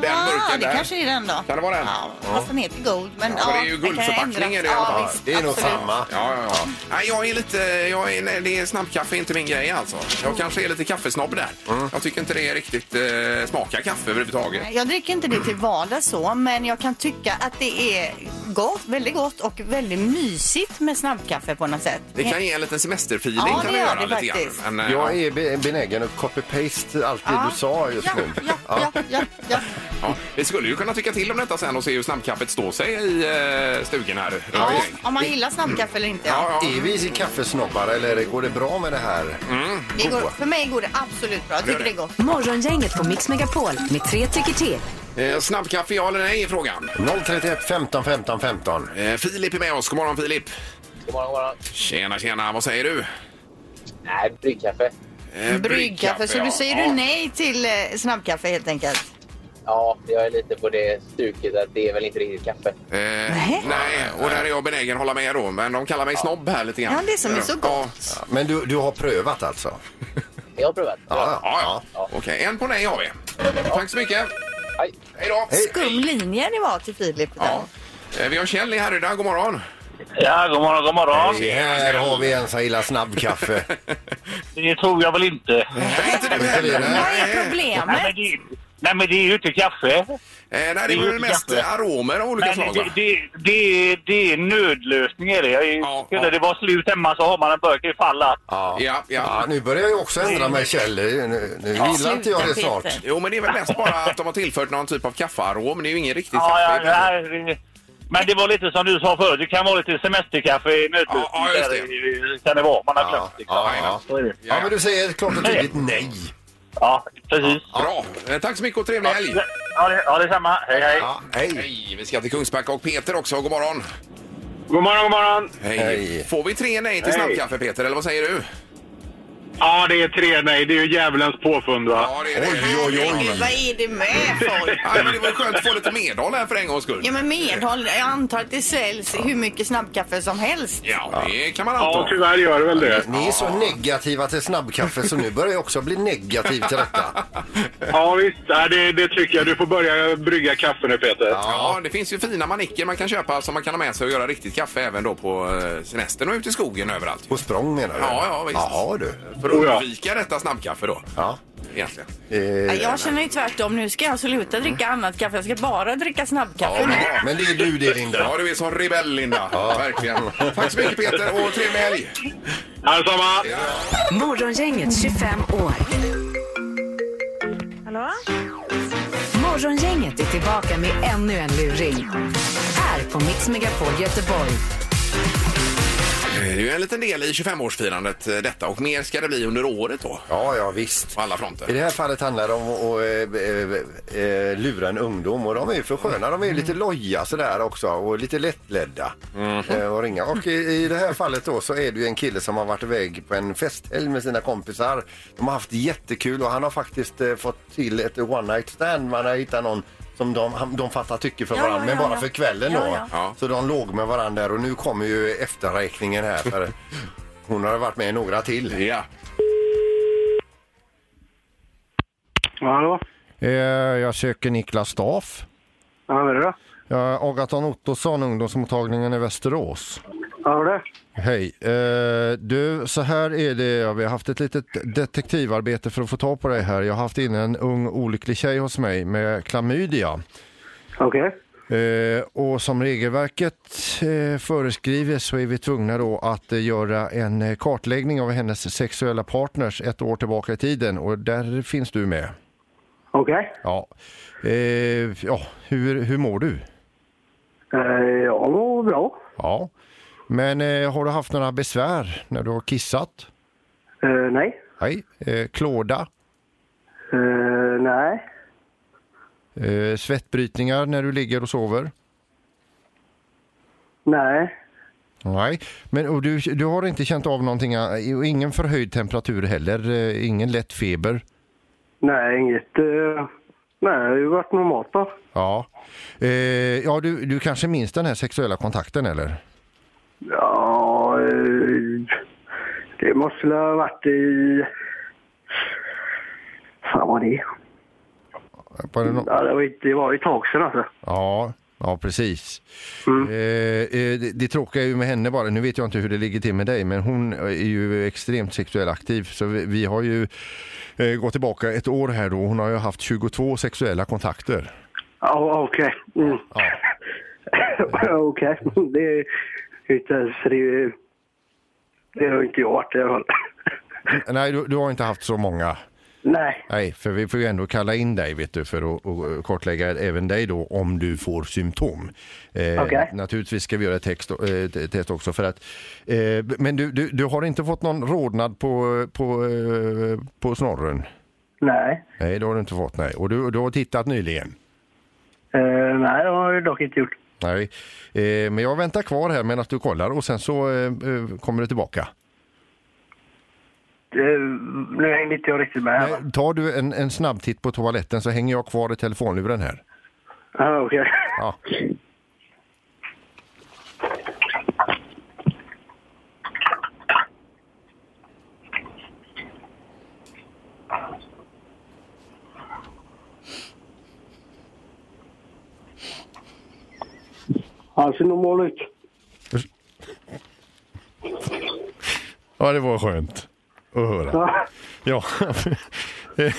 [SPEAKER 2] Den
[SPEAKER 5] Ah,
[SPEAKER 2] burken
[SPEAKER 5] det
[SPEAKER 2] där.
[SPEAKER 5] kanske är den då.
[SPEAKER 2] Kan det vara den?
[SPEAKER 5] Ja, fast den heter Gold. Men,
[SPEAKER 2] Ja,
[SPEAKER 5] ja,
[SPEAKER 2] men det är ju
[SPEAKER 5] den kan
[SPEAKER 2] guldförpackning är det i alla
[SPEAKER 5] ändras.
[SPEAKER 2] fall.
[SPEAKER 5] Ja, visst,
[SPEAKER 3] Det är nog
[SPEAKER 5] absolut.
[SPEAKER 3] samma.
[SPEAKER 2] Ja, ja, ja. Nej, jag är lite... Jag är, nej, det är snabbkaffe är inte min grej alltså. Jag kanske är lite kaffesnobb där.
[SPEAKER 3] Mm.
[SPEAKER 2] Jag tycker inte det riktigt eh, smakar kaffe överhuvudtaget.
[SPEAKER 5] Jag dricker inte det till vardags så, men jag kan tycka att det är gott, väldigt gott och väldigt mysigt med snabbkaffe på något sätt.
[SPEAKER 2] Det kan ge en liten semesterfeeling
[SPEAKER 5] Ja,
[SPEAKER 2] kan
[SPEAKER 5] det
[SPEAKER 2] det
[SPEAKER 5] gör
[SPEAKER 2] göra
[SPEAKER 5] det
[SPEAKER 2] lite
[SPEAKER 5] faktiskt.
[SPEAKER 2] grann. Men, eh,
[SPEAKER 3] Jag är be- benägen att copy-paste allt det
[SPEAKER 5] Ja.
[SPEAKER 3] du sa just
[SPEAKER 5] Ja,
[SPEAKER 3] nu.
[SPEAKER 5] ja, ja, ja, ja.
[SPEAKER 2] ja. Vi skulle ju kunna tycka till om detta sen och se hur snabbkaffet står sig i eh, stugan här. runt
[SPEAKER 5] ja.
[SPEAKER 2] omkring.
[SPEAKER 5] Om man gillar snabbkaffe eller inte. Ja.
[SPEAKER 2] Ja, ja.
[SPEAKER 3] Är vi kaffesnobbar eller går det bra med det här?
[SPEAKER 5] Det går, för mig går det absolut bra. Jag tycker det är gott.
[SPEAKER 1] Morgongänget på Mix Megapol med tre tycker till.
[SPEAKER 2] Eh, snabbkaffe, ja eller nej, är frågan.
[SPEAKER 3] 031 15 15 15.
[SPEAKER 2] Eh, Filip är med oss. God morgon, Filip.
[SPEAKER 9] God morgon, god morgon.
[SPEAKER 2] Tjena, tjena. Vad säger du?
[SPEAKER 9] Nej, bryggkaffe.
[SPEAKER 2] Eh,
[SPEAKER 5] Bryggkaffe, så
[SPEAKER 2] ja.
[SPEAKER 5] du säger
[SPEAKER 2] Ja.
[SPEAKER 5] du nej till eh, snabbkaffe helt enkelt?
[SPEAKER 9] Ja, jag är lite på det stuket att det är väl inte riktigt kaffe.
[SPEAKER 2] Eh,
[SPEAKER 5] Nej.
[SPEAKER 2] nej, och där är jag benägen att hålla med då. Men de kallar mig snobb här lite grann.
[SPEAKER 5] Ja, det som är så
[SPEAKER 2] gott.
[SPEAKER 3] Men du, du har prövat alltså?
[SPEAKER 9] Jag har provat.
[SPEAKER 2] Ja, ja. ja. Okej, en på nej har vi. Tack så mycket.
[SPEAKER 9] Hej.
[SPEAKER 2] Hej då.
[SPEAKER 5] Skum linje det var till Filip.
[SPEAKER 2] Ja. Eh, Vi har Kjell i Härryda. God morgon.
[SPEAKER 8] Ja, god morgon, god morgon.
[SPEAKER 3] Det här har vi en som gillar snabbkaffe.
[SPEAKER 8] Det tror jag väl inte.
[SPEAKER 2] Nej, inte du heller.
[SPEAKER 3] Vad
[SPEAKER 4] Vad
[SPEAKER 2] Eh, Nej.
[SPEAKER 4] är
[SPEAKER 8] Nej,
[SPEAKER 4] problemet?
[SPEAKER 8] men det, nej, men det är ju inte kaffe.
[SPEAKER 2] Eh, Nej, det är väl mest aromer av olika
[SPEAKER 8] Men
[SPEAKER 2] slag,
[SPEAKER 8] det,
[SPEAKER 2] va?
[SPEAKER 8] det, det, det är nödlösning är det. Jag är,
[SPEAKER 2] Ja,
[SPEAKER 8] skulle
[SPEAKER 2] ja.
[SPEAKER 8] det vara slut hemma så har man en burk ifall att...
[SPEAKER 3] Ja.
[SPEAKER 2] Ja,
[SPEAKER 3] Ja,
[SPEAKER 2] ja.
[SPEAKER 3] nu börjar jag också ändra mig Kjell. Nu, nu gillar inte jag det
[SPEAKER 4] Sluta,
[SPEAKER 3] snart.
[SPEAKER 4] Peter.
[SPEAKER 2] Jo, men det är väl mest bara att de har tillfört någon typ av kaffearom. Det är ju ingen riktigt
[SPEAKER 8] Ja, ja,
[SPEAKER 2] kaffe.
[SPEAKER 8] nej, det- men det var lite som du sa förut. Det kan vara lite semesterkaffe i nödlösning.
[SPEAKER 2] Ja, ja, just det.
[SPEAKER 8] där i- Kan det vara. Man har glömt liksom.
[SPEAKER 3] Ja, ja.
[SPEAKER 8] Så är det.
[SPEAKER 3] Ja, men du säger klart och tydligt nej.
[SPEAKER 8] ja, precis.
[SPEAKER 2] Bra. Eh, Tack så mycket och trevlig helg.
[SPEAKER 8] Ja, det, ja, detsamma. Hej, hej.
[SPEAKER 3] Ja, hej.
[SPEAKER 2] Hej, vi ska till Kungsbacka och Peter också. God morgon.
[SPEAKER 9] God morgon, god morgon.
[SPEAKER 2] Hej.
[SPEAKER 3] Hej.
[SPEAKER 2] Får vi tre nej till
[SPEAKER 9] Hej.
[SPEAKER 2] snabbkaffe, Peter? Eller vad säger du?
[SPEAKER 9] Ja, det är tre nej. Det är ju djävulens påfund, va?
[SPEAKER 2] Ja, det är det.
[SPEAKER 5] Herregud, vad är det med folk?
[SPEAKER 2] Ja, men det var skönt att få lite medhåll här för en gångs skull.
[SPEAKER 5] Ja men medhåll, jag antar att det säljs hur mycket snabbkaffe som helst.
[SPEAKER 2] Ja, det kan man
[SPEAKER 9] Ja,
[SPEAKER 2] anta.
[SPEAKER 9] tyvärr gör det väl det.
[SPEAKER 3] Ni är så negativa till snabbkaffe så nu börjar jag också bli negativ till detta.
[SPEAKER 9] Ja, visst. Nej, det, det tycker jag. Du får börja brygga kaffe nu, Peter.
[SPEAKER 2] Ja, det finns ju fina manicker man kan köpa som man kan ha med sig och göra riktigt kaffe även då på eh, semestern och ute i skogen överallt.
[SPEAKER 3] På språng menar du?
[SPEAKER 2] Ja, ja, visst.
[SPEAKER 3] Jaha du.
[SPEAKER 2] För
[SPEAKER 9] Oh ja.
[SPEAKER 2] att undvika detta snabbkaffe då,
[SPEAKER 3] Ja. Eh,
[SPEAKER 2] egentligen.
[SPEAKER 4] Ja, Jag känner ju tvärtom. Nu ska jag sluta dricka annat kaffe. Jag ska bara dricka snabbkaffe. nu.
[SPEAKER 2] Ja,
[SPEAKER 3] Men det är du det Linda.
[SPEAKER 2] Ja, du är som rebell, Linda. Verkligen. Tack så mycket, Peter, och trevlig helg!
[SPEAKER 9] Ja, detsamma.
[SPEAKER 1] Morgongänget 25 år. Hallå? Morgongänget är tillbaka med ännu en luring. Här på Mix Megapol Göteborg.
[SPEAKER 2] Det är ju en liten del i 25-årsfirandet eh, detta och mer ska det bli under året då.
[SPEAKER 3] Ja, ja visst.
[SPEAKER 2] På alla
[SPEAKER 3] I
[SPEAKER 2] fronter.
[SPEAKER 3] det här fallet handlar det om att eh, eh, eh, lura en ungdom och de är ju för sköna. De är ju lite loja sådär också och lite lättledda. Eh, och ringa. Och i, i det här fallet då så är det ju en kille som har varit iväg på en festhelg med sina kompisar. De har haft jättekul och han har faktiskt eh, fått till ett one night stand. Man har hittat någon som de, han- de fattar tycke för
[SPEAKER 4] Ja,
[SPEAKER 3] varandra,
[SPEAKER 4] ja,
[SPEAKER 3] men
[SPEAKER 4] ja,
[SPEAKER 3] bara
[SPEAKER 4] ja.
[SPEAKER 3] för kvällen
[SPEAKER 4] Ja,
[SPEAKER 3] då.
[SPEAKER 4] ja.
[SPEAKER 2] Ja.
[SPEAKER 3] Så de låg med varandra där och nu kommer ju efterräkningen här. För hon har varit med i några till.
[SPEAKER 2] Ja.
[SPEAKER 9] Hallå?
[SPEAKER 3] Eh, Jag söker Niklas Staff.
[SPEAKER 9] Ja, vad är det då?
[SPEAKER 3] Ja, Agaton Ottosson, ungdomsmottagningen i Västerås.
[SPEAKER 9] Ja, vad är det?
[SPEAKER 3] Hej. Eh, du, så här är det. Ja, Vi har haft ett litet detektivarbete för att få tag på dig här. Jag har haft in en ung olycklig tjej hos mig med klamydia.
[SPEAKER 9] Okej.
[SPEAKER 3] Eh, och som regelverket eh, föreskriver så är vi tvungna då att eh, göra en eh, kartläggning av hennes sexuella partners ett år tillbaka i tiden och där finns du med.
[SPEAKER 9] Okej.
[SPEAKER 3] Ja, eh, ja hur, hur mår du?
[SPEAKER 9] Eh, Ja, vad bra.
[SPEAKER 3] Ja, men eh, har du haft några besvär när du har kissat?
[SPEAKER 9] Eh, Nej.
[SPEAKER 3] Nej. Eh, klåda?
[SPEAKER 9] Eh, Nej.
[SPEAKER 3] Eh, svettbrytningar när du ligger och sover?
[SPEAKER 9] Nej.
[SPEAKER 3] Nej, men och du, du har inte känt av någonting, eh, och ingen förhöjd temperatur heller, eh, ingen lätt feber?
[SPEAKER 9] Nej, inget. eh, Nej, det har ju varit normalt då.
[SPEAKER 3] Ja, eh, ja du, du kanske minns den här sexuella kontakten eller?
[SPEAKER 9] Ja, eh, det måste väl ha varit i... Fan vad det är.
[SPEAKER 3] Var det nå-
[SPEAKER 9] Ja, det, var, ju- det var ju ett tag sedan alltså.
[SPEAKER 3] Ja, ja precis. Eh, eh, det, det tråkiga är ju med henne bara, nu vet jag inte hur det ligger till med dig, men hon är ju extremt sexuellt aktiv. Så vi, vi har ju eh, gått tillbaka ett år här då, hon har ju haft 22 sexuella kontakter.
[SPEAKER 9] Ja, okej. Mm. okej, det är ju inte ens... Det, är- det har ju inte jag varit i alla fall.
[SPEAKER 3] Nej, du, du har inte haft så många.
[SPEAKER 9] Nej,
[SPEAKER 3] Nej, för vi får ju ändå kalla in dig vet du, för att och kartlägga även dig då om du får symptom. Eh,
[SPEAKER 9] Okej.
[SPEAKER 3] Naturligtvis ska vi göra ett text, eh, t- test också. För att, eh, men du, du, du har inte fått någon rodnad på, på, eh, på snorren?
[SPEAKER 9] nej.
[SPEAKER 3] Nej, det har du inte fått. Nej. Och du, du har tittat nyligen?
[SPEAKER 9] Eh, nej, det har jag dock inte gjort.
[SPEAKER 3] Nej. Eh, men jag väntar kvar här medan du kollar och sen så eh, eh, kommer du tillbaka.
[SPEAKER 9] Eh, nu hängde inte jag riktigt med. här, va?
[SPEAKER 3] Eh, Tar du en, en snabbtitt på toaletten så hänger jag kvar i telefonluren här.
[SPEAKER 9] Ja, Ah, okej.
[SPEAKER 3] Ja.
[SPEAKER 9] Han ser normal ut.
[SPEAKER 3] ja, det var skönt att höra.
[SPEAKER 9] Ja.
[SPEAKER 3] Ja. Eh,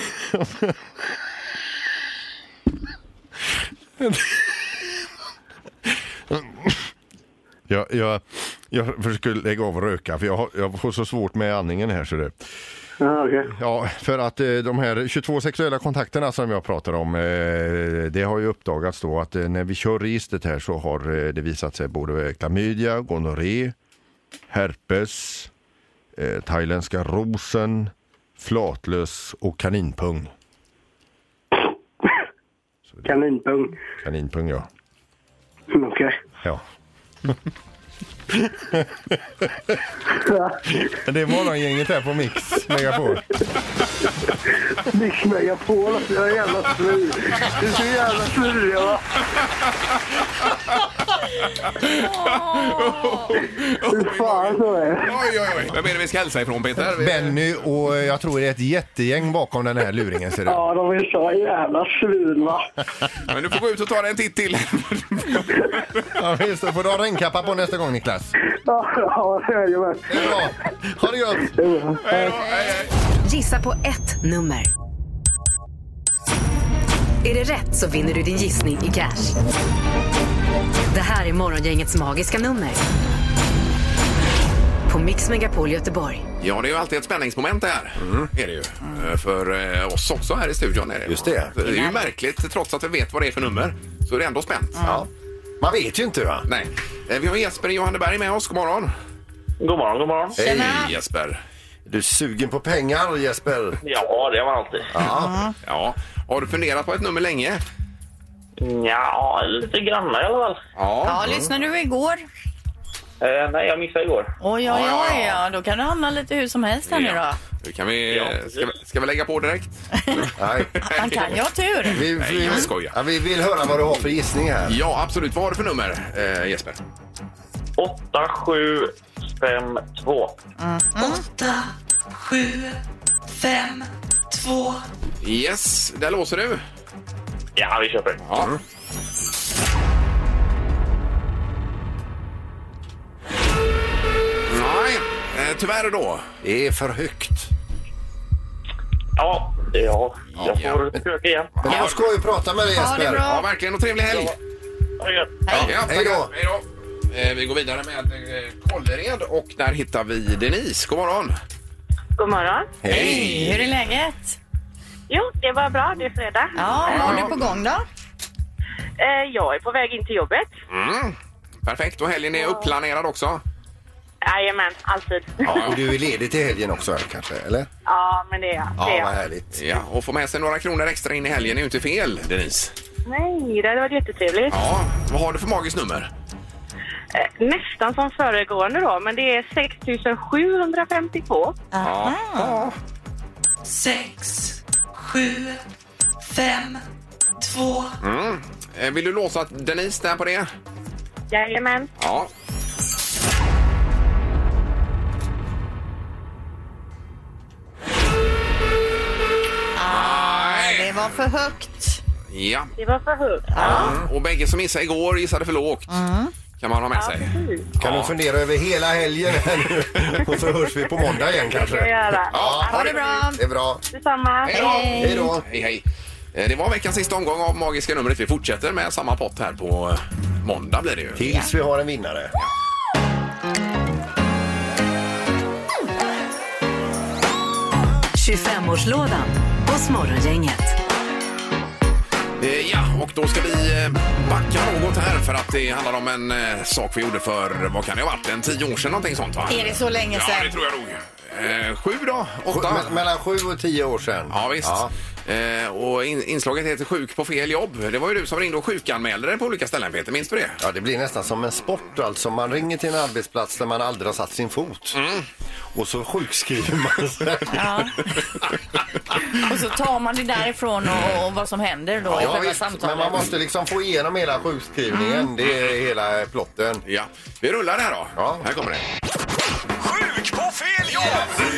[SPEAKER 3] Jag, jag, jag försöker lägga av och röka för jag, har, jag får så svårt med andningen här. Så det.
[SPEAKER 9] Ja, okej.
[SPEAKER 3] Ja, för att eh, de här 22 sexuella kontakterna som jag pratar om, eh, det har ju uppdagats då att eh, när vi kör registret här så har eh, det visat sig både klamydia, gonorré, herpes, eh, thailändska rosen, flatlös och kaninpung.
[SPEAKER 9] Kaninpung.
[SPEAKER 3] Kaninpung ja.
[SPEAKER 9] Okej.
[SPEAKER 3] ja. det är morgongänget här på Mix Megapol.
[SPEAKER 9] Mix Megapol alltså, jag är jävla slur. Du är så jävla slurig va. Fy fan så är det.
[SPEAKER 2] Oj, oj, oj. Vem är det vi ska hälsa ifrån Peter? Vi-
[SPEAKER 3] Benny och eh, jag tror det är ett jättegäng bakom den här luringen ser du.
[SPEAKER 9] Ja, de är så jävla svin va.
[SPEAKER 2] Men du får gå ut och ta dig en titt till.
[SPEAKER 3] Ja, visst, då får du ha regnkappa på nästa gång Niklas.
[SPEAKER 9] Ja, ja, jajamän.
[SPEAKER 3] Det är bra. Ha det gött!
[SPEAKER 2] Hej då, hej, hej.
[SPEAKER 1] Gissa på ett nummer. Är det rätt så vinner du din gissning i cash. Det här är morgongängets magiska nummer. på Mix Megapol Göteborg.
[SPEAKER 2] Ja, det är ju alltid ett spänningsmoment det här. Är det ju. Eh, För eh, oss också här i studion. Är det.
[SPEAKER 10] Just det.
[SPEAKER 2] Det är ju märkligt, trots att vi vet vad det är för nummer, så är det ändå spänt.
[SPEAKER 5] Mm.
[SPEAKER 10] Ja. Man vet ju inte va?
[SPEAKER 2] Nej. Eh, Vi har Jesper i Johanneberg med oss. God morgon.
[SPEAKER 11] God morgon, god morgon.
[SPEAKER 2] Hej Jesper.
[SPEAKER 10] Du är sugen på pengar Jesper.
[SPEAKER 11] Ja, det var alltid.
[SPEAKER 2] Ja. Har du funderat på ett nummer länge?
[SPEAKER 11] Ja, lite granna i alla fall.
[SPEAKER 5] Ja, lyssnade du igår?
[SPEAKER 11] Eh, nej, jag missade igår.
[SPEAKER 5] Oj, oj, oj, ja. Då kan du hamna lite hur som helst här nu då.
[SPEAKER 2] Ja. Nu kan vi,
[SPEAKER 11] Ja.
[SPEAKER 2] ska, vi- ska vi lägga på direkt?
[SPEAKER 10] Nej.
[SPEAKER 5] Man kan ju ha tur.
[SPEAKER 10] Vi,
[SPEAKER 2] Nej,
[SPEAKER 10] vi,
[SPEAKER 2] jag skojar.
[SPEAKER 10] ja, vi vill höra vad du har för gissning här.
[SPEAKER 2] Ja, absolut. Vad har du för nummer, eh, Jesper?
[SPEAKER 11] 8, 7, 5, 2.
[SPEAKER 2] Yes, där låser du.
[SPEAKER 11] Ja, vi köper.
[SPEAKER 2] Ja. Nej, eh, tyvärr då.
[SPEAKER 10] Det är för högt.
[SPEAKER 11] Ja, ja jag
[SPEAKER 2] Ja.
[SPEAKER 11] får försöka igen.
[SPEAKER 10] Men det var skoj att prata med dig
[SPEAKER 5] Ha det
[SPEAKER 10] Jesper.
[SPEAKER 2] Ja,
[SPEAKER 5] bra.
[SPEAKER 2] verkligen. Och trevlig helg.
[SPEAKER 11] Ha det gött.
[SPEAKER 2] Ja,
[SPEAKER 10] Hej då.
[SPEAKER 2] tackar. Hej då. Eh, Vi går vidare med eh, Kållered och där hittar vi Denise. God morgon.
[SPEAKER 12] God morgon.
[SPEAKER 5] Hej, hur är läget?
[SPEAKER 12] Jo, det var bra. Det är fredag.
[SPEAKER 5] Ja, vad har du på gång då?
[SPEAKER 12] Eh, jag är på väg in till jobbet.
[SPEAKER 2] Mm. Perfekt. Och helgen är uppplanerad också.
[SPEAKER 12] Jajamän, alltid.
[SPEAKER 10] Och du är ledig till helgen också kanske, eller?
[SPEAKER 12] Ja, men det är jag. Det är
[SPEAKER 10] Ja, vad
[SPEAKER 12] jag.
[SPEAKER 10] härligt.
[SPEAKER 2] Ja, och få med sig några kronor extra in i helgen är ju inte fel, Denise.
[SPEAKER 12] Nej, det hade varit jättetrevligt.
[SPEAKER 2] Ja, vad har du för magiskt nummer?
[SPEAKER 12] Eh, nästan som föregående då, men det är 6752.
[SPEAKER 2] Ja. Mm. Eh, Vill du låsa Denise där på det?
[SPEAKER 12] Jajamän.
[SPEAKER 2] Ja.
[SPEAKER 5] Det var för högt.
[SPEAKER 2] Ja,
[SPEAKER 12] Det var för högt.
[SPEAKER 2] och bägge som gissade igår gissade för lågt. Kan man ha med sig.
[SPEAKER 12] Precis.
[SPEAKER 10] Kan du fundera över hela helgen här nu? Och så hörs vi på måndag igen
[SPEAKER 12] Det ska jag
[SPEAKER 10] kanske.
[SPEAKER 12] göra.
[SPEAKER 2] Ja,
[SPEAKER 5] Ha det bra.
[SPEAKER 10] Det är bra.
[SPEAKER 12] Detsamma.
[SPEAKER 2] Hej då!
[SPEAKER 10] Hej då.
[SPEAKER 2] Hej, hej. Eh, Det var veckans sista omgång av Magiska numret. Vi fortsätter med samma pott här på eh, måndag blir det ju.
[SPEAKER 10] Tills vi har en vinnare.
[SPEAKER 1] Ja. 25-årslådan hos Morgongänget.
[SPEAKER 2] Eh, Ja, och då ska vi eh, backa något här för att det handlar om en eh, sak vi gjorde för, vad kan det ha varit, en tio år sedan någonting sånt va?
[SPEAKER 5] Är det så länge
[SPEAKER 2] Ja, det
[SPEAKER 5] sedan?
[SPEAKER 2] tror jag nog. Eh, Sju då?
[SPEAKER 10] Sju-
[SPEAKER 2] Åtta?
[SPEAKER 10] me- Mellan sju och tio år sedan.
[SPEAKER 2] Ja, visst. Eh, och in, inslaget heter Sjuk på fel jobb. Det var ju du som ringde och sjukanmälde dig på olika ställen, Peter. Minns du det?
[SPEAKER 10] Ja, det blir nästan som en sport alltså. Man ringer till en arbetsplats där man aldrig har satt sin fot.
[SPEAKER 2] Mm.
[SPEAKER 10] Och så sjukskriver man sig.
[SPEAKER 5] Ja. Och så tar man det därifrån och, och vad som händer då i
[SPEAKER 10] Ja,
[SPEAKER 5] själva
[SPEAKER 10] visst, men
[SPEAKER 5] samtalet. Mm.
[SPEAKER 10] man måste liksom få igenom hela sjukskrivningen. Det är hela plotten.
[SPEAKER 2] Ja. Vi rullar det här då.
[SPEAKER 10] Ja.
[SPEAKER 2] Här kommer det.
[SPEAKER 13] Sjuk på fel jobb!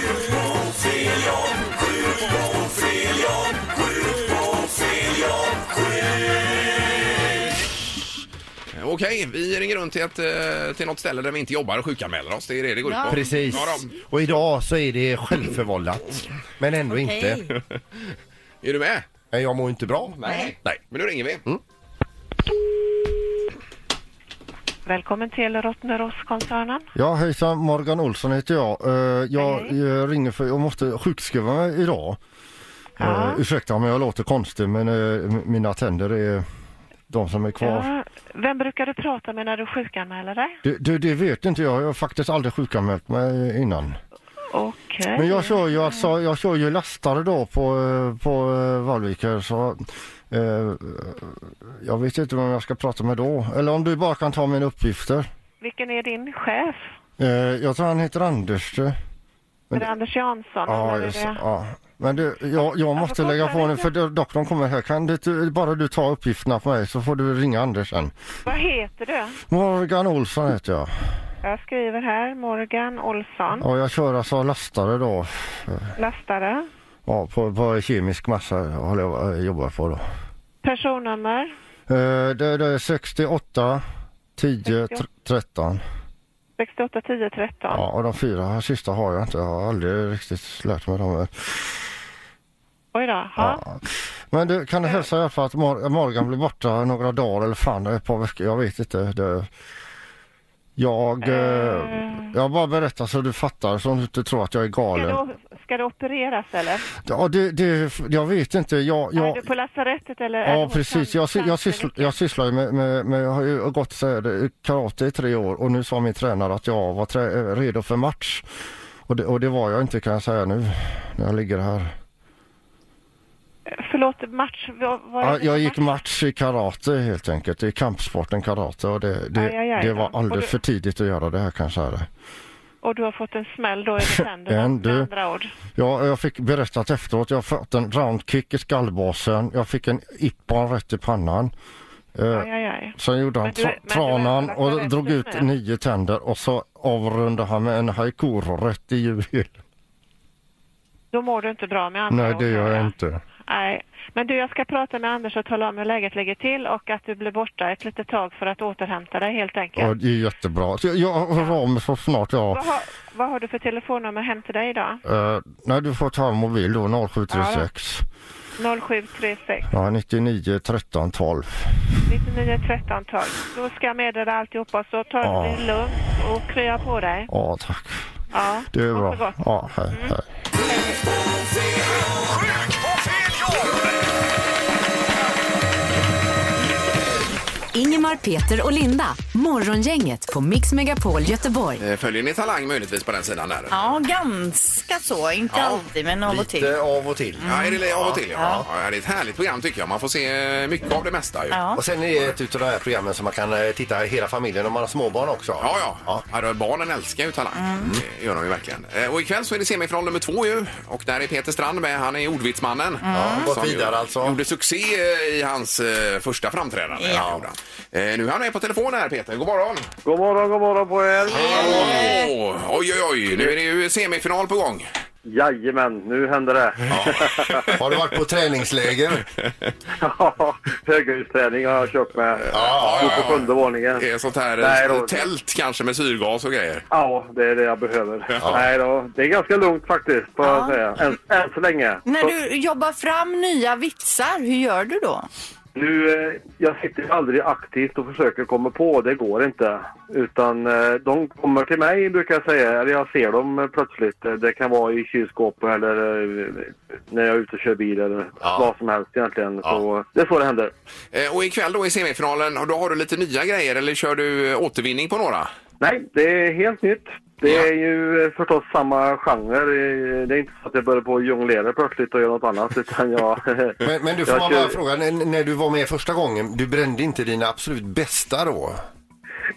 [SPEAKER 2] Eh, Okej, vi ringer runt till, ett, eh, till något ställe där vi inte jobbar och sjukanmäler oss. Det är det det går ut
[SPEAKER 5] Ja.
[SPEAKER 2] på.
[SPEAKER 3] Precis.
[SPEAKER 2] Ja, då.
[SPEAKER 3] Och idag så är det självförvållat. Men ändå inte.
[SPEAKER 5] Hej.
[SPEAKER 2] Är du med?
[SPEAKER 3] Men jag mår inte bra.
[SPEAKER 2] Nej. Nej. Men nu ringer vi.
[SPEAKER 12] Välkommen till Rottneroskoncernen.
[SPEAKER 3] Ja hejsan, Morgan Olsson heter jag. Eh, Jag eh, ringer för jag måste sjukskriva mig idag. Ja. Ursäkta om jag låter konstig men eh, m- mina tänder är de som är kvar.
[SPEAKER 12] Vem brukar du prata med när du sjukanmäler dig?
[SPEAKER 3] Det, det, det vet inte jag, jag har faktiskt aldrig sjukanmält mig innan.
[SPEAKER 12] Okej.
[SPEAKER 3] Men jag kör ju, alltså, jag kör ju lastare då på, eh, på eh, Vallvika så eh, jag vet inte vem jag ska prata med då. Eller om du bara kan ta mina uppgifter.
[SPEAKER 12] Vilken är din chef?
[SPEAKER 3] Eh, jag tror han heter Anders. eh.
[SPEAKER 12] Är det Anders Jansson?
[SPEAKER 3] Ja, just, ja. Men du, jag, jag måste lägga på nu för do- doktorn kommer här. Kan du, du- bara du ta uppgifterna på mig så får du ringa Anders sen.
[SPEAKER 12] Vad heter du?
[SPEAKER 3] Morgan Olsson heter jag.
[SPEAKER 12] Jag skriver här Morgan Olsson,
[SPEAKER 3] Ja, jag kör alltså lastare då.
[SPEAKER 12] lastare.
[SPEAKER 3] Ja, på, på kemisk massa håller jag, eh, jobbar på då.
[SPEAKER 12] Personnummer?
[SPEAKER 3] Eh, Det, det är 68, 10, 13.
[SPEAKER 12] 68 10 13.
[SPEAKER 3] Ja, och de fyra här sista har jag inte. Jag har aldrig riktigt lärt mig dem.
[SPEAKER 12] Oj då. Ja.
[SPEAKER 3] Men du, kan du hälsa i alla fall att Mor- Morgan blir borta några dagar eller fan, ett par veckor. Jag vet inte. Det...
[SPEAKER 14] Jag, eh, jag bara berättar så du fattar så du inte tror att jag är
[SPEAKER 12] Ska
[SPEAKER 14] galen.
[SPEAKER 12] du, ska du opereras eller?
[SPEAKER 14] Ja, det, det, jag vet inte. Jag,
[SPEAKER 12] Ja. Är
[SPEAKER 14] jag,
[SPEAKER 12] du på lasarettet eller? är
[SPEAKER 14] Ja,
[SPEAKER 12] du-
[SPEAKER 14] precis. Jag, sy- jag, syssl, jag sysslar ju med, med, med, jag har ju gått så här, eh, karate i tre år och nu sa min tränare att jag var trä, eh, redo för match. Och det, och det var jag inte kan jag säga nu när jag ligger här.
[SPEAKER 12] Förlåt, match? Vad, vad är
[SPEAKER 14] Ja,
[SPEAKER 12] det?
[SPEAKER 14] jag gick match i karate helt enkelt, i kampsporten karate och det, det,
[SPEAKER 12] Aj, aj, aj
[SPEAKER 14] det
[SPEAKER 12] då.
[SPEAKER 14] var
[SPEAKER 12] Och
[SPEAKER 14] alldeles
[SPEAKER 12] du-
[SPEAKER 14] för tidigt att göra det här kan jag säga. det.
[SPEAKER 12] Och du har fått en smäll då i tänderna
[SPEAKER 14] En,
[SPEAKER 12] med
[SPEAKER 14] du.
[SPEAKER 12] andra ord?
[SPEAKER 14] Ja, jag fick berättat efteråt, jag fått en roundkick i skallbasen, jag fick en ippan rätt i pannan. Eh,
[SPEAKER 12] Aj, aj, aj.
[SPEAKER 14] Sen gjorde han
[SPEAKER 12] Men du- men
[SPEAKER 14] tra-
[SPEAKER 12] du
[SPEAKER 14] tranan
[SPEAKER 12] vet väl att man
[SPEAKER 14] och drog
[SPEAKER 12] rätt
[SPEAKER 14] ut
[SPEAKER 12] med?
[SPEAKER 14] nio tänder och så avrundade han med en haikoro rätt i djurhjulet.
[SPEAKER 12] Då mår du inte bra med
[SPEAKER 10] Mm.
[SPEAKER 12] andra
[SPEAKER 14] Nej,
[SPEAKER 12] ord?
[SPEAKER 14] det gör
[SPEAKER 12] hör
[SPEAKER 14] jag inte.
[SPEAKER 12] Nej. Men du, jag ska prata med Anders och tala om hur läget ligger till och att du blir borta ett litet tag för att återhämta dig helt enkelt.
[SPEAKER 14] Och det är jättebra. Så jag- jag hör av mig så snart jag...
[SPEAKER 12] Vad, har, vad har du för telefonnummer hem till dig idag?
[SPEAKER 14] Uh, nej, du får ta en mobil då, 0736
[SPEAKER 12] 0736
[SPEAKER 14] ja, 99 13 12.
[SPEAKER 12] 99 13 12. Då ska jag meddela alltihopa så tar du
[SPEAKER 14] Ja.
[SPEAKER 12] det lugnt och krya på dig.
[SPEAKER 14] Ja, tack.
[SPEAKER 12] Ja,
[SPEAKER 14] Det är
[SPEAKER 12] ha så
[SPEAKER 14] bra.
[SPEAKER 12] gott. Mm.
[SPEAKER 14] Ja, hej, hej.
[SPEAKER 1] Ingemar, Peter och Linda. Morgongänget på Mix Megapol Göteborg.
[SPEAKER 2] Eh, Följer ni Talang möjligtvis på den sidan där?
[SPEAKER 5] Ja, ganska så. Inte alltid, men av och till.
[SPEAKER 3] av och till.
[SPEAKER 2] Ja, är det li- av och till? Ja.
[SPEAKER 3] Ja.
[SPEAKER 2] Ja. det är ett härligt program tycker jag. Man får se eh, mycket av det mesta ju.
[SPEAKER 3] Och sen är det ett av de här programmen som man kan eh, titta hela familjen om man har småbarn också.
[SPEAKER 2] Ja, ja. ja. då, barnen älskar ju Talang.
[SPEAKER 3] Mm.
[SPEAKER 2] Det gör de ju verkligen. Eh, Och ikväll så är det semifinal nummer två ju. Och där är Peter Strand med. Han är ordvitsmannen. Mm.
[SPEAKER 3] Ja, gått vidare
[SPEAKER 2] alltså. Gjorde succé eh, i hans eh, första framträdande.
[SPEAKER 3] Ja.
[SPEAKER 2] Ja. gjorde han. Eh, nu är han med på telefon här Peter. God morgon!
[SPEAKER 10] God morgon, god morgon på er!
[SPEAKER 2] Åh, oj, oj, oj. Nu är det ju semifinal på gång.
[SPEAKER 10] Jajamän, nu händer det.
[SPEAKER 3] Har du varit på träningsläger?
[SPEAKER 10] Ja, höghusträning har jag köpt med.
[SPEAKER 2] ja, ja.
[SPEAKER 10] Bor på sjunde våningen.
[SPEAKER 2] Det är sånt här
[SPEAKER 10] Nej, då.
[SPEAKER 2] eh, tält kanske med syrgas och grejer.
[SPEAKER 10] Ja, det är det jag behöver. Nej då, det är ganska lugnt faktiskt, får jag säga. Än, än så länge.
[SPEAKER 5] När
[SPEAKER 10] Så
[SPEAKER 5] du jobbar fram nya vitsar, hur gör du då?
[SPEAKER 10] Nu, eh, jag sitter aldrig aktivt och försöker komma på, det går inte. Utan eh, de kommer till mig brukar jag säga, eller jag ser dem eh, plötsligt. Eh, Det kan vara i kylskåpet eller eh, när jag är ute och kör bil eller vad som helst egentligen. Så det är så det händer.
[SPEAKER 2] Eh, Och ikväll då i semifinalen, och då har du lite nya grejer eller kör du eh, återvinning på några?
[SPEAKER 10] Nej, det är helt nytt. Det är ju eh, förstås samma genre. Eh, Det är inte så att jag börjar på och jonglera plötsligt och gör något annat utan jag...
[SPEAKER 3] Men, men du får
[SPEAKER 10] jag
[SPEAKER 3] man
[SPEAKER 10] kör-
[SPEAKER 3] bara fråga, när, när du var med första gången, du brände inte dina absolut bästa då?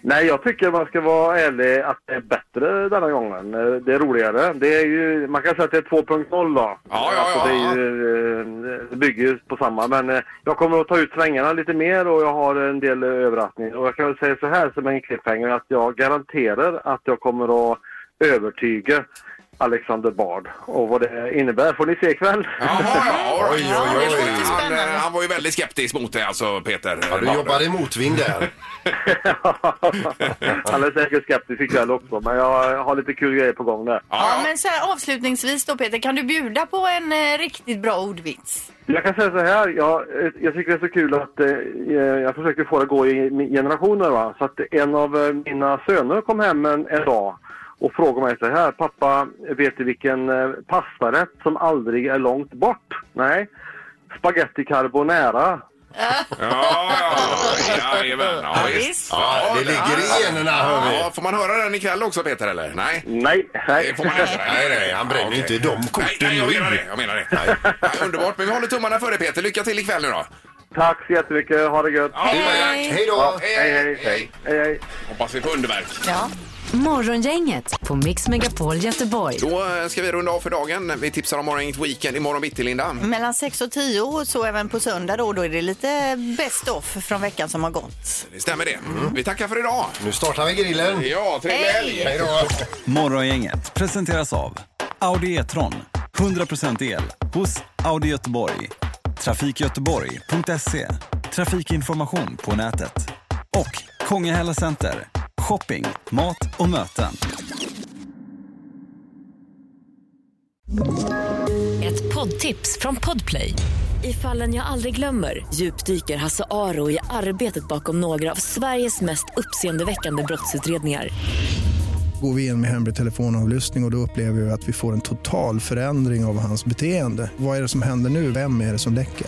[SPEAKER 10] Nej, jag tycker man ska vara ärlig att det är bättre denna gången. Eh, Det är roligare. Det är ju, man kan säga att det är 2.0 då. Ja, ja, alltså, det, är ju, eh, det bygger ju på samma. Men eh, jag kommer att ta ut svängarna lite mer och jag har en del eh, överraskningar. Och jag kan väl säga så här som en cliffhanger att jag garanterar att jag kommer att övertyga Alexander Bard. Och vad det innebär får ni se ikväll.
[SPEAKER 2] Oj, Han, eh, han var ju väldigt skeptisk mot det alltså Peter. Ja,
[SPEAKER 3] du jobbar i motvind där.
[SPEAKER 10] Han är säkert skeptisk ikväll också, men jag har lite kul grejer på gång där.
[SPEAKER 5] Ja, men så här, avslutningsvis då Peter, kan du bjuda på en eh, riktigt bra ordvits?
[SPEAKER 10] Jag kan säga så här, jag, eh, jag tycker det är så kul att eh, jag försöker få det att gå i min- generationer. Va? Så att en av eh, mina söner kom hem en, en dag och frågade mig så här, pappa vet du vilken eh, pastarätt som aldrig är långt bort? Nej, spaghetti carbonara.
[SPEAKER 2] Jajamän, ja, visst. Ja, det ligger i generna hör vi. Ja, får man höra den ikväll också Peter eller? Nej?
[SPEAKER 10] Nej.
[SPEAKER 2] Det får man inte. Nej, nej, han bränner
[SPEAKER 3] ju inte de korten
[SPEAKER 2] nej, nej, jag menar det. Jag menar det. Nej, underbart, men vi håller tummarna för dig Peter. Lycka till ikväll nu då.
[SPEAKER 10] Tack så jättemycket, ha det gött!
[SPEAKER 2] Hej.
[SPEAKER 3] Hej då!
[SPEAKER 10] hej, hej. hej, hej.
[SPEAKER 2] Hoppas vi får underverk.
[SPEAKER 1] Morgongänget på Mix Megapol Göteborg.
[SPEAKER 2] Då eh, ska vi runda av för dagen. Vi tipsar om morgon, inget weekend imorgon bitti Linda.
[SPEAKER 5] Mellan 6 och 10 och så även på söndag då, då är det lite best off från veckan som har gått.
[SPEAKER 2] Det stämmer det. Vi tackar för idag.
[SPEAKER 3] Nu startar vi grillen.
[SPEAKER 2] Ja, trevlig helg!
[SPEAKER 3] Hej då!
[SPEAKER 15] Morgongänget presenteras av Audi E-tron. 100% el hos Audi Göteborg. Trafikgöteborg.se. Trafikinformation på nätet. Och Kongahälla Center. Shopping, mat och möten.
[SPEAKER 1] Ett poddtips från Podplay.
[SPEAKER 16] I fallen jag aldrig glömmer djupdyker Hasse Aro i arbetet bakom några av Sveriges mest uppseendeväckande brottsutredningar.
[SPEAKER 6] Går vi in med hemlig telefonavlyssning och, och då upplever vi att vi får en total förändring av hans beteende. Vad är det som händer nu? Vem är det som läcker?